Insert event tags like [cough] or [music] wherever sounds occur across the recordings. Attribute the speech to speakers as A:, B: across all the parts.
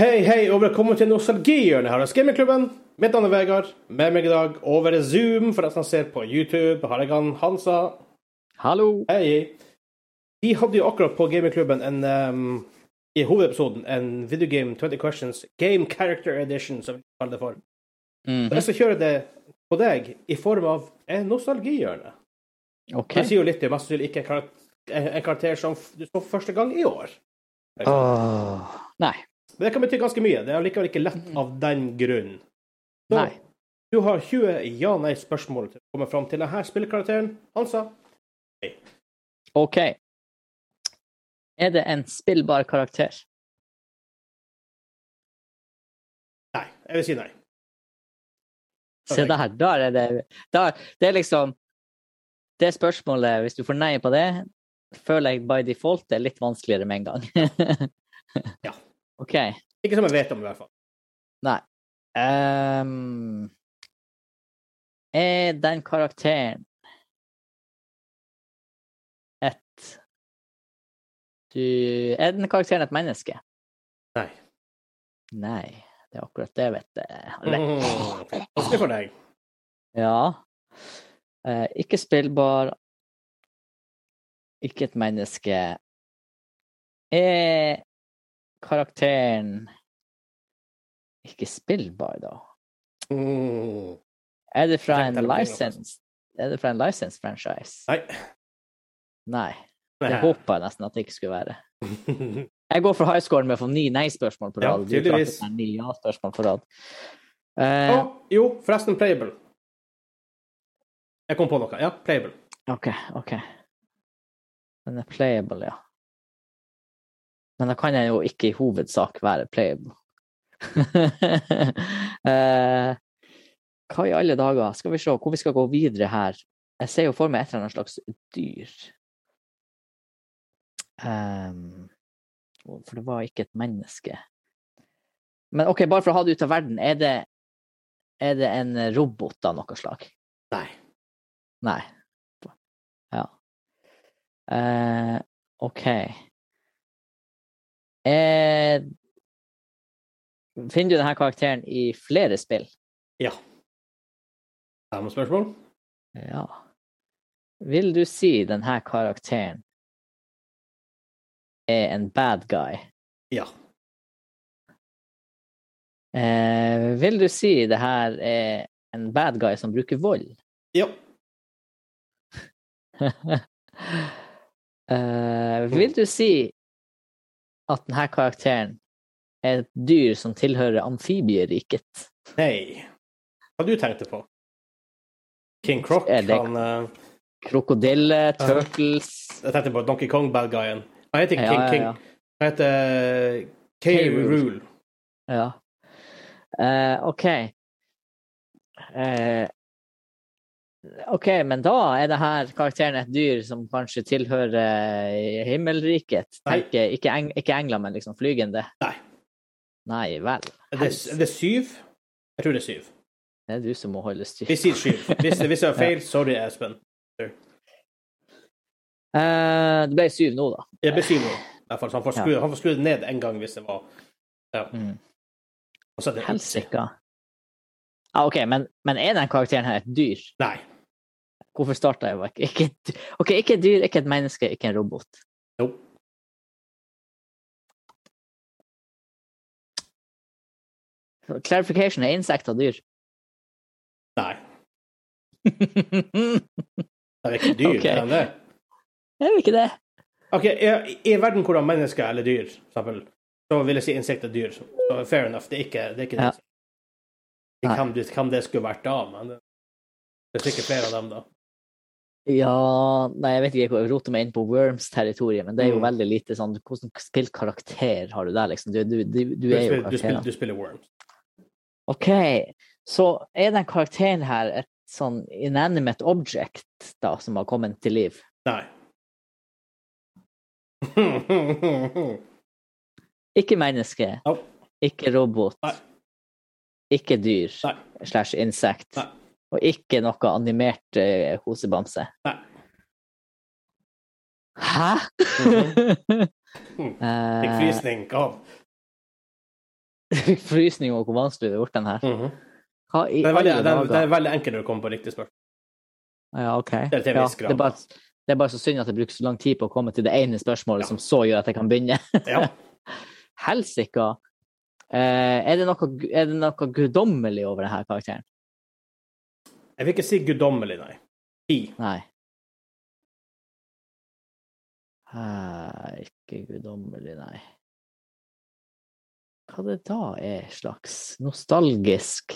A: Hei, hei, og velkommen til Nostalgihjørnet her hos Gamingklubben. Mitt navn er Vegard. Med meg i dag over Zoom, for deg som ser på YouTube, har jeg han Hansa.
B: Hallo!
A: Hei. Vi hadde jo akkurat på Gamingklubben en ehm, I hovedepisoden en Video Game 20 Questions Game Character Edition, som vi kaller det for. Og jeg skal kjøre det på deg i form av en nostalgihjørne.
B: OK.
A: Det sier jo litt, det er mest sannsynlig ikke en karakter, en karakter som du så første gang i år.
B: Åh. Nei.
A: Men det kan bety ganske mye. Det er allikevel ikke lett av den grunn. Så,
B: Mm. Nei.
A: Du har 20 ja-nei-spørsmål til å komme fram til denne spillkarakteren. Altså
B: OK. Er det en spillbar karakter?
A: nei. Jeg vil si nei.
B: Se der, da er det da, Det er liksom Det spørsmålet, hvis du får nei på det, føler jeg by default det er litt vanskeligere med en gang. [laughs]
A: Ja.
B: OK.
A: Ikke som jeg vet om, i hvert fall.
B: Nei. Ehm, er den karakteren et du, Er den karakteren et menneske?
A: Nei.
B: Nei, det er akkurat det, vet du. Nei.
A: Mm. Vanskelig for deg.
B: Ja. Eh, ikke spillbar. Ikke et menneske. Er karakteren ikke spillbar, da?
A: Mm.
B: Er det fra
A: Tenk
B: en
A: deg det,
B: license? Er det fra en license franchise?
A: Nei.
B: Nei.
A: Nei.
B: Det håpa jeg nesten at det ikke skulle være. Jeg går for high scoren med å få ni nei-spørsmål på
A: Ja,
B: rad. Du klarte
A: tydeligvis.
B: meg ni ja-spørsmål på rad. Eh,
A: [laughs] Å, jo, forresten, playable. Jeg kom på noe. Ja, playable.
B: OK, OK. Den er playable, ja. Men da kan jeg jo ikke i hovedsak være playable. [laughs] eh, hva i alle dager? Skal vi se hvor vi skal gå videre her. Jeg ser jo for meg et eller annet slags dyr. Ehm, for det var ikke et menneske. Men OK, bare for å ha det ut av verden, er det, er det en robot av noe slag?
A: Nei.
B: Nei. Ja. Eh, OK. Eh, finner du denne karakteren i flere spill?
A: Ja. Er det noen spørsmål?
B: Ja. Vil du si denne karakteren er en bad guy?
A: Ja.
B: Eh, vil du si det her er en bad guy som bruker vold?
A: Ja.
B: [laughs]
A: Mm.
B: Eh, vil du si at denne karakteren er et dyr som tilhører amfibieriket?
A: Nei. Hva du tenkte på? King Croc?
B: Er det-
A: Han, eh,
B: Krokodille, turtles
A: jeg tenkte på Donkey Kong-bad-guyen. Han heter
B: Ja,
A: King,
B: ja,
A: King
B: ja.
A: Han heter
B: K.
A: K. Rule.
B: ja. Eh, OK. Eh, OK, men da er denne karakteren et dyr som kanskje tilhører himmelriket?
A: Nei.
B: Tenker, ikke, eng, ikke engler, men liksom flygende?
A: Nei.
B: Nei vel.
A: Er det, er det syv? Jeg tror det er syv.
B: Det er du som må holde styr.
A: Vi sier syv. Hvis, det- hvis jeg har feil, sorry, Espen.
B: Eh, det ble syv nå, da.
A: Jeg blir syv nå. I hvert fall, så han får skru, han får skru det ned en gang hvis det var ja.
B: Mm.
A: Og så er det-
B: Helsike. Ja, OK, men, men er den karakteren her et dyr?
A: Nei.
B: Hvorfor starta jeg bare ikke- ikke et dyr? OK, ikke et dyr, ikke et menneske, ikke en robot.
A: Jo.
B: Så Clarification er insekter
A: [laughs]
B: dyr.
A: Nei.
B: er
A: Det er ikke dyr.
B: Ok.
A: Er det det?
B: jo ikke det.
A: OK, i, i verden hvor det er mennesker eller dyr, for eksempel, så vil jeg si insekter er dyr. Så fair enough. Det er ikke det. Er ikke det.
B: Ja.
A: Men Hvem, du- hvem det skulle vært da, men det det er sikkert flere av dem, da.
B: Ja Nei, jeg vet ikke, jeg roter meg inn på Worms-territoriet, men det er jo
A: Mm.
B: veldig lite sånn Hvilken spillkarakter har du der, liksom? Du, du, du, du
A: Du, spiller, du,
B: er jo
A: spiller,
B: karakteren.
A: du spiller Worms.
B: OK, så er den karakteren her et sånn inanimate object, da, som har kommet til liv?
A: Nei. [laughs]
B: Ikke menneske.
A: Au.
B: Ikke robot.
A: Nei.
B: Ikke dyr
A: Nei.
B: slash insekt.
A: Nei.
B: Og ikke noe animert eh, kosebamse.
A: Nei.
B: Hæ?!
A: Mhm.
B: Eh, [laughs]
A: Fikk frysning. God.
B: Jeg fikk [laughs] frysning over hvor vanskelig det har gjort den her.
A: Mhm.
B: Hva i
A: Den er veldig,
B: alle
A: den,
B: dager?
A: den er veldig enkel når det kommer på riktig spørsmål.
B: Ja, OK.
A: Det er til en
B: Ja,
A: viss grad,
B: det, er bare, det er bare så synd at jeg bruker så lang tid på å komme til det ene spørsmålet
A: Ja.
B: som så gjør at jeg kan begynne. [laughs]
A: Ja.
B: Helsika! Eh, er det noe, er det noe guddommelig over denne karakteren?
A: Jeg vil ikke si guddommelig, nei. Ti.
B: Nei. Eh, ikke guddommelig, nei. Hva det da er slags nostalgisk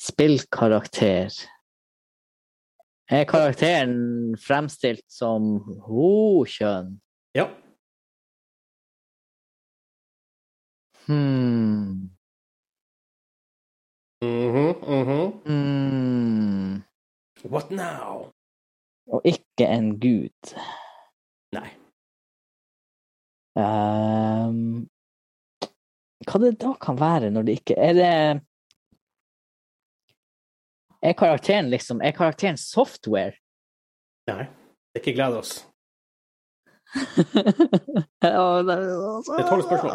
B: spillkarakter? Er karakteren fremstilt som ho-kjønn?
A: Ja.
B: Hmm.
A: Mhm, mhm.
B: Mm.
A: What now?
B: Og ikke en gud.
A: Nei.
B: Ehm, hva det da kan være når det ikke Er det Er karakteren liksom Er karakteren [laughs] software?
A: Nei. Ikke gled oss. [laughs]
B: det altså-
A: er tolv spørsmål.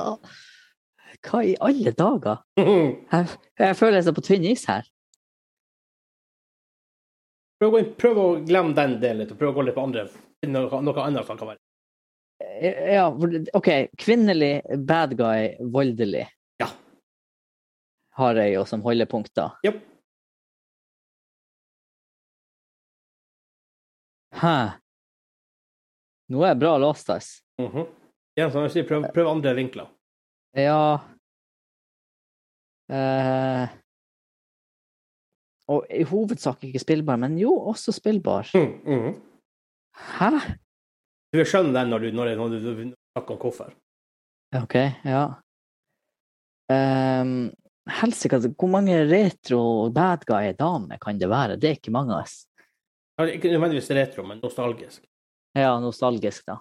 B: Hva i alle dager?
A: Mhm.
B: Jeg, jeg føler jeg er på tynn is her.
A: Prøv, å gå inn- prøv å glemme den delen litt, og prøv å gå litt på andre. Finn Noe, noe annet som kan være.
B: Ja, for det- OK. Kvinnelig, bad guy, voldelig.
A: Ja.
B: Har jeg jo som holdepunkter.
A: Japp.
B: Hæ. Nå er jeg bra låst, ass.
A: Mhm. Igjen, som jeg sier, prøv, prøv andre vinkler.
B: Ja eh, Og i hovedsak ikke spillbar, men jo, også spillbar.
A: Mhm, [laughs] mhm.
B: Hæ?
A: Du vil skjønne den når du, når, du- når du, når du snakker om hvorfor.
B: OK, ja. Um, Helsike, altså, hvor mange retro bad guy-damer kan det være? Det er ikke mange. ass.
A: Ja, Ikke nødvendigvis retro, men nostalgisk.
B: Ja, nostalgisk, da.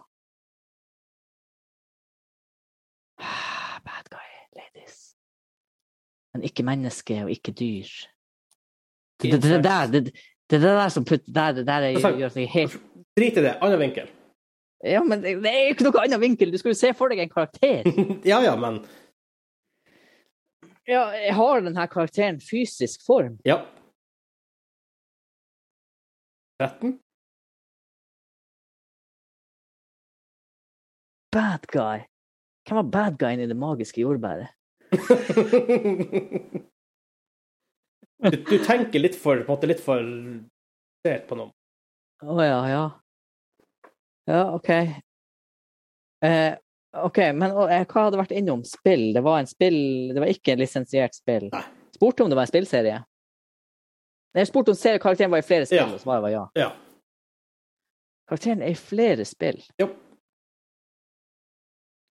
B: [sighs] Bad guy ladies. Men ikke menneske og ikke dyr. Det, det, det, der, det, det der som putter der, det der
A: Jeg sa-
B: er- gjør seg helt
A: Drit i det. Annen vinkel. [laughs]
B: Ja, men det, det er jo ikke noe annen vinkel! Du skal jo se for deg en karakter.
A: ja, ja, men
B: Ja, jeg har denne karakteren fysisk form.
A: Ja.
B: [laughs]
A: 13?
B: Bad guy. Hvem var bad guyen i Det magiske jordbæret?
A: du, du tenker litt for på en måte litt for fokusert på noe.
B: Å ja, ja. Ja, OK. Eh, OK, men og, eh, hva hadde vært innom spill? Det var en spill Det var ikke en lisensiert spill.
A: Nei.
B: Spurte om det var en spillserie. Jeg spurte om seriekarakteren var i flere spill,
A: Ja.
B: og svaret var ja.
A: Ja.
B: Karakteren er i flere spill.
A: Jo.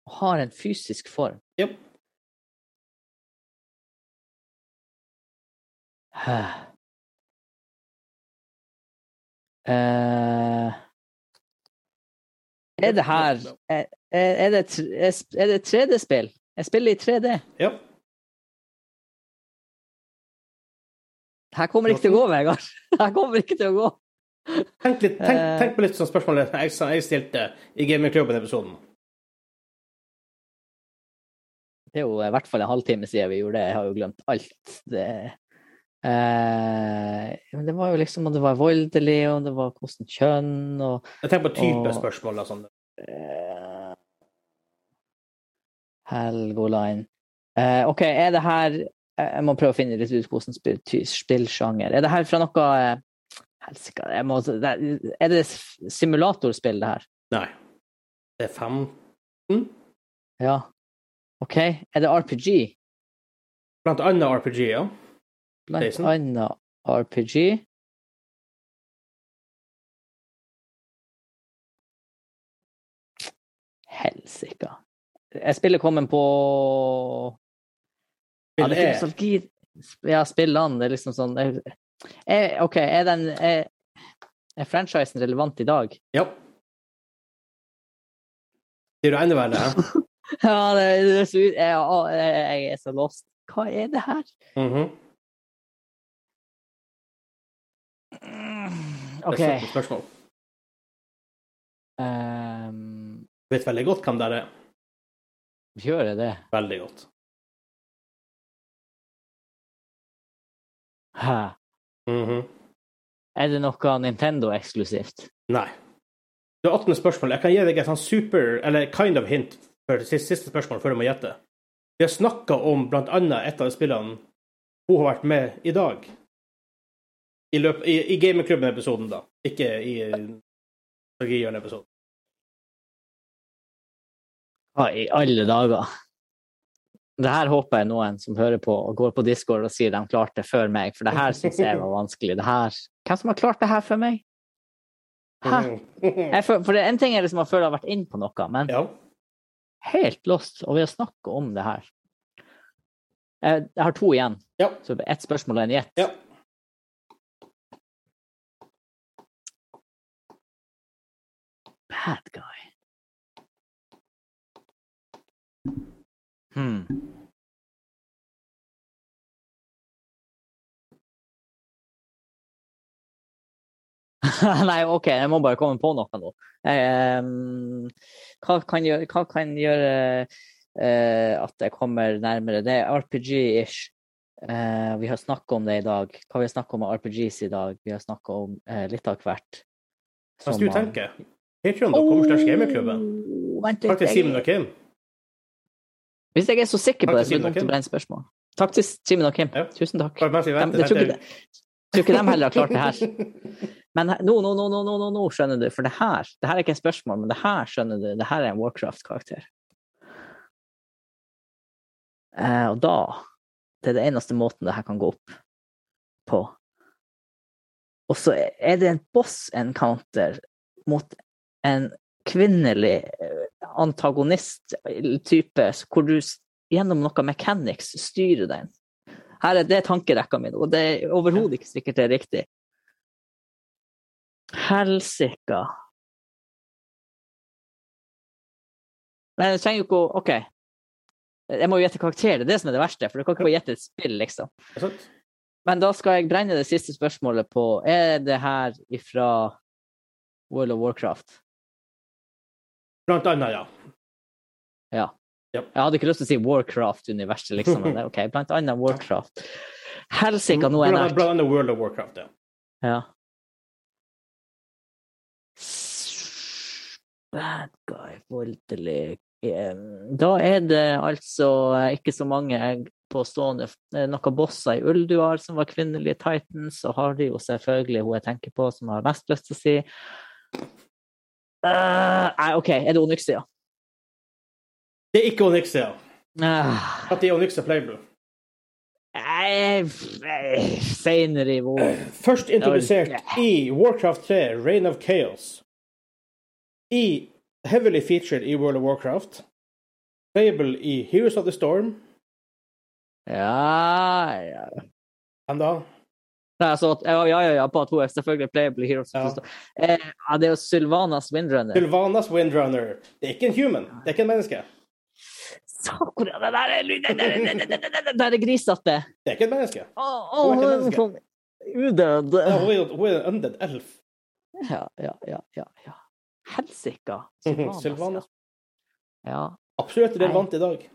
B: Og har en fysisk form.
A: Jo.
B: Hæ. Eh, er det her er, er, det, tr- er sp- er det 3D-spill? Jeg spiller i 3D.
A: Ja.
B: Her kommer det ikke til å gå, Vegard. [laughs] Her kommer det ikke til å gå.
A: Tenk, litt, tenk,
B: Eh.
A: tenk på litt sånn spørsmål jeg, som jeg stilte i Gamingklubben-episoden.
B: Det er jo eh, i hvert fall en halvtime siden vi gjorde det. Jeg har jo glemt alt. Det, eh, men det var jo liksom om det var voldelig, om det var hvordan kjønn og
A: Jeg tenker på type
B: Åh.
A: spørsmål og sånn.
B: eh, Helgoline. Eh, OK, er det her eh, Jeg må prøve å finne litt ut hvordan spill- ty- spillsjanger Er det her fra noe eh, Helsike, jeg må det- Er det s- simulatorspill, det her?
A: Nei. Det er fem
B: Ja. OK. Er det RPG?
A: Blant annet RPG, ja.
B: Blant
A: Jason?
B: annet RPG. Helsika. Jeg spiller kommet på ja, det er ikke
A: Spill
B: nostalgi. sånn Ja, spillene. Det er liksom sånn jeg, jeg, OK, er den er, er franchisen relevant i dag?
A: er Ja. Sier du endeværende?
B: [laughs]
A: hæ?
B: [laughs] Ja, det, det er så, ut- jeg, jeg, jeg er så lost. Hva er det her?
A: Mhm.
B: OK.
A: Det er et spørsmål.
B: ehm,
A: Du vet veldig godt hvem det er.
B: gjør jeg det?
A: Veldig godt.
B: Hæ.
A: Mhm.
B: Er det noe Nintendo eksklusivt?
A: Nei. Det er 18 spørsmål. Jeg kan gi deg et sånn super, eller kind of hint, for det siste, siste spørsmål før du må gjette. Vi har snakka om blant annet et av de spillene hun har vært med i dag. I, løp, i, i gamingklubben-episoden, da. Ikke i
B: [laughs]
A: Nostalgihjørnet-episoden.
B: Hva i alle dager? Det her håper jeg noen som hører på og går på Discord og sier de klarte det før meg, for det her syns jeg var vanskelig. Det her. Hvem som har klart det her før meg? Hæ? Jeg føl- for det, en ting er liksom man føler jeg har vært inne på noe, men
A: Ja.
B: helt lost, og vi har snakka om det her. Eh, Jeg har to igjen.
A: Ja.
B: Så ett spørsmål og en gjett.
A: Ja.
B: Bad guy. Hmm. [laughs] Nei, OK, jeg må bare komme på noe nå. Eh, um, hva kan gjøre, hva kan gjøre eh, at jeg kommer nærmere? Det er RPG-ish. Eh, vi har snakka om det i dag. Hva vi har snakka om av RPGs i dag? Vi har snakka om eh, litt av hvert.
A: Mens
B: Som
A: du
B: man-
A: tenker. Patreon.com slash gamingklubben.
B: Åh, vent litt,
A: Takk til
B: jeg-
A: Simen og Kim.
B: Hvis jeg er så sikker på
A: Takk
B: det,
A: til
B: så blir
A: Simen og
B: det dumt
A: Kim.
B: å brenne spørsmål. Takk til Simen og Kim.
A: Ja.
B: Tusen takk.
A: Bare mens vi
B: Dem-
A: venter,
B: jeg tror ikke
A: venter-
B: det- jeg tror ikke de heller har klart det
A: [laughs]
B: her. Men her- nå, nå, nå, nå, nå, nå, nå skjønner du. For det her det her er ikke et spørsmål, men det her skjønner du. Det her er en Warcraft-karakter. Eh, og da Det er det eneste måten det her kan gå opp på. Og så er det en boss-encounter mot en kvinnelig eh, antagonist-type, hvor du s- gjennom noe mechanics styrer den. Her er det er tankerekka mi, og det er overhodet ikke sikkert det er riktig. Helsika. Men jeg trenger jo ikke å OK. Jeg må jo gjette karakter, det er det som er det verste. For du kan ikke bare gjette et spill, liksom.
A: Det er sant.
B: Men da skal jeg brenne det siste spørsmålet på Er det her ifra World of Warcraft?
A: Blant annet, ja.
B: Ja.
A: Ja.
B: Jeg hadde ikke lyst til å si Warcraft-universet, liksom. Men det er OK. Blant annet Warcraft. Helsika, nå er jeg
A: Blant-
B: nært.
A: Blant annet World of Warcraft, ja.
B: Ja. S- Bad guy, voldelig eh, Da er det altså eh, ikke så mange jeg på stående f- eh, Noen bosser i Ulduar som var kvinnelige Titans, og har de jo selvfølgelig hun jeg tenker på, som har mest lyst til å si. Eh, Nei, OK, er det Onyxia?
A: Det er ikke Onyxia.
B: Uh,
A: At det er Onyxia Playblue.
B: Seinere eh, i vår.
A: Først introdusert
B: Ja.
A: i Warcraft 3, Reign of Chaos. I Heavily featured i World of Warcraft. Fable i Heroes of the Storm.
B: Ja, ja.
A: Hvem da?
B: Nei, altså, at- ja, ja, ja, ja, på at hun er selvfølgelig playable hero.
A: Ja.
B: Ja. Eh, ja, det er jo Sylvanas Windrunner.
A: Sylvanas Windrunner. Det er ikke en human. Det er ikke en menneske.
B: Sakura, det der er lyd- det der er- det der er- det der er grisete!
A: Det er ikke et menneske.
B: Å, å,
A: Hun er
B: hun
A: ikke
B: er en
A: menneske.
B: sånn udød.
A: Ja, Hun er, hun er en undead elf.
B: Ja, ja, ja. ja, ja. Helsika!
A: Mhm, Sylvanas.
B: ja. Ja.
A: Absolutt relevant i dag.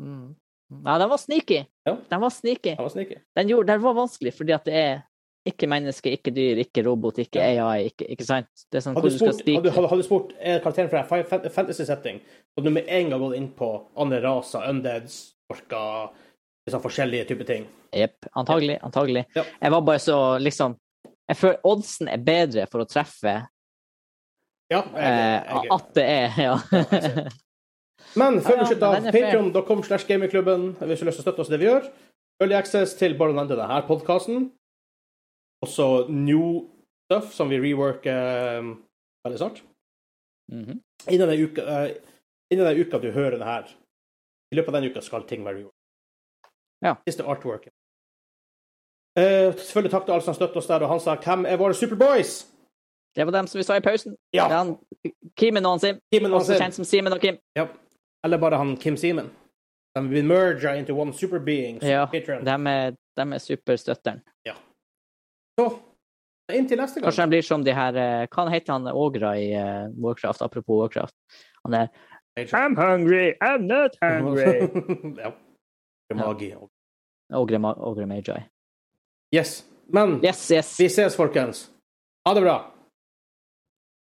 B: Mm. Nei, den var sneaky.
A: Ja.
B: Den var sneaky.
A: Jeg var sniker.
B: Den, gjorde, den var vanskelig, fordi at det er ikke menneske, ikke dyr, ikke robot, ikke AI, ikke, ikke sant? Det er sånn
A: Hadde
B: hvor
A: du
B: du skal
A: spurt, hadde,
B: snike.
A: hadde, hadde du spurt er karakteren fra en fa- fa- fantasy-setting, og du med en gang gått inn på andre raser, undeads, orker, liksom forskjellige typer ting.
B: Jepp. Antagelig. Antagelig.
A: Ja.
B: Jeg var bare så liksom Jeg føler oddsen er bedre for å treffe
A: Ja, jeg,
B: eh,
A: jeg, jeg.
B: at det er Ja.
A: Men før vi
B: Ja, ja,
A: slutter
B: men
A: av,
B: den er fair.
A: patreon.com slash gamingklubben hvis du har lyst til å støtte oss i det vi gjør. Early access til bare å nevne denne podkasten. Også new stuff som vi reworker eh, veldig snart.
B: [laughs] Mhm.
A: Innen den uka, eh, innen den uka du hører det her, i løpet av den uka skal ting være reworked.
B: Ja.
A: Siste artwork. Eh, selvfølgelig takk til alle som støtter oss der, og han sa 'Hvem er våre Superboys?'
B: Det var dem som vi sa i pausen.
A: Ja.
B: Det er han, Kimen og han Sim.
A: Kimen og
B: Også
A: Sim.
B: kjent som Simen og Kim.
A: Ja. Eller bare han Kim Simen. De blir merga into one superbeing. som
B: Ja,
A: Patreon.
B: dem er, dem er superstøtteren.
A: Så inntil neste gang.
B: Kanskje de blir som de her eh, Hva heter han Ågra i eh, Warcraft? Apropos Warcraft. Han er I'm hungry, I'm not hungry.
A: [laughs] ja. Det er Magi.
B: Ogre, Ma- Ogre Magi.
A: Yes. Men
B: Yes, yes.
A: vi ses, folkens. Ha det bra.